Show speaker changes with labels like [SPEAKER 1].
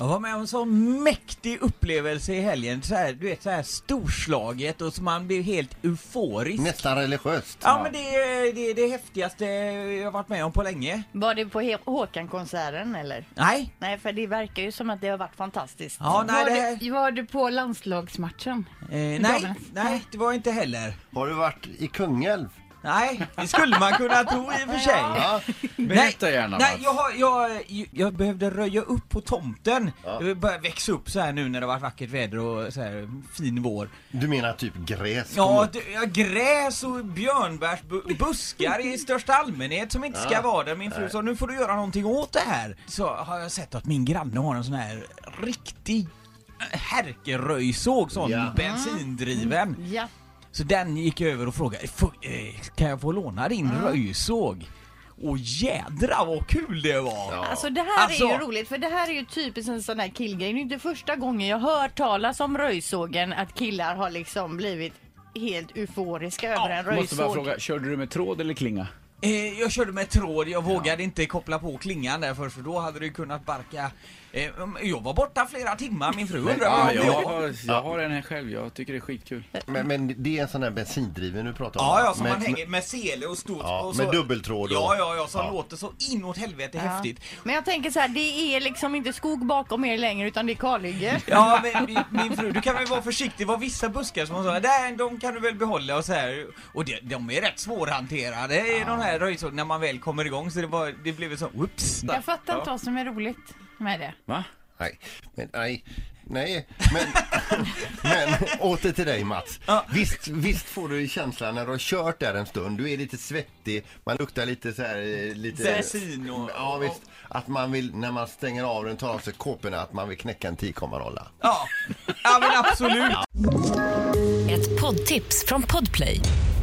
[SPEAKER 1] Jag var med om en sån mäktig upplevelse i helgen, så här, du vet så här storslaget och så man blev helt euforisk.
[SPEAKER 2] Nästan religiöst.
[SPEAKER 1] Ja men det är det, är det häftigaste jag har varit med om på länge.
[SPEAKER 3] Var det på He- Håkan-konserten eller?
[SPEAKER 1] Nej,
[SPEAKER 3] Nej, för det verkar ju som att det har varit fantastiskt.
[SPEAKER 1] ja, nej, det, här-
[SPEAKER 4] Var, du, var du på landslagsmatchen?
[SPEAKER 1] eh, nej, nej det var inte heller.
[SPEAKER 2] Har du varit i Kungälv?
[SPEAKER 1] Nej, det skulle man kunna tro i och för sig.
[SPEAKER 2] Ja.
[SPEAKER 1] Berätta gärna Nej, jag, har, jag, jag behövde röja upp på tomten. Det började växa upp så här nu när det var vackert väder och så här fin vår.
[SPEAKER 2] Du menar typ gräs? kom
[SPEAKER 1] Ja,
[SPEAKER 2] upp.
[SPEAKER 1] du, ja, gräs och björnbärsbuskar i största allmänhet som inte ska vara där. Min fru sa nu får du göra någonting åt det här. Så har jag sett att min granne har en sån här riktig eh, härkeröjsåg, sån
[SPEAKER 2] Ja.
[SPEAKER 1] bensindriven.
[SPEAKER 4] Ja.
[SPEAKER 1] Så den gick jag över och frågade, "Får- eh, kan jag få låna din röjsåg? Och jädra vad kul det var!
[SPEAKER 4] Alltså det här
[SPEAKER 1] Alltså-
[SPEAKER 4] är ju roligt för det här är ju typiskt en sån här killgrej. Det är inte första gången jag hör talas om röjsågen att killar har liksom blivit helt euforiska över en
[SPEAKER 5] Måste bara
[SPEAKER 4] röjsåg.
[SPEAKER 5] fråga, körde du med tråd eller klinga?
[SPEAKER 1] Eh, jag körde med tråd, jag vågade inte koppla på klingan där först för då hade det ju kunnat barka. Eh, jag var borta flera timmar, min fru undrade
[SPEAKER 5] Ja,
[SPEAKER 1] om jag
[SPEAKER 5] jag, har, jag har den här själv, jag tycker det är skitkul.
[SPEAKER 2] Men, men det är en sån här bensindriven du pratar om?
[SPEAKER 1] Ja, ja, som
[SPEAKER 2] men,
[SPEAKER 1] man hänger med sele och stort.
[SPEAKER 2] Ja,
[SPEAKER 1] och
[SPEAKER 2] med dubbeltråd och-
[SPEAKER 1] Ja, ja, ja, som
[SPEAKER 2] Ja.
[SPEAKER 1] låter så inåt helvete häftigt.
[SPEAKER 4] Men jag tänker så här, det är liksom inte skog bakom er längre utan det är kalhygge.
[SPEAKER 1] Ja, men min, min fru, du kan väl vara försiktig. Det var vissa buskar som hon sa, där, de kan du väl behålla och så här. Och det, de är rätt svårhanterade, i de här röjsågarna, när man väl kommer igång. Så det, var, det blev ett sånt, whoops.
[SPEAKER 4] Jag fattar inte vad som är roligt med det.
[SPEAKER 5] Va?
[SPEAKER 2] Nej, men nej. Nej, men, men åter till dig Mats.
[SPEAKER 1] Ja.
[SPEAKER 2] Visst, visst får du känslan när du har kört där en stund, du är lite svettig, man luktar lite så här... eh, Lite,
[SPEAKER 1] Bensin och-
[SPEAKER 2] Ja visst, att man vill, när man stänger av den, tar av sig kåporna, att man vill knäcka en 10,0.
[SPEAKER 1] Ja, ja men absolut.
[SPEAKER 6] Ett poddtips från Podplay.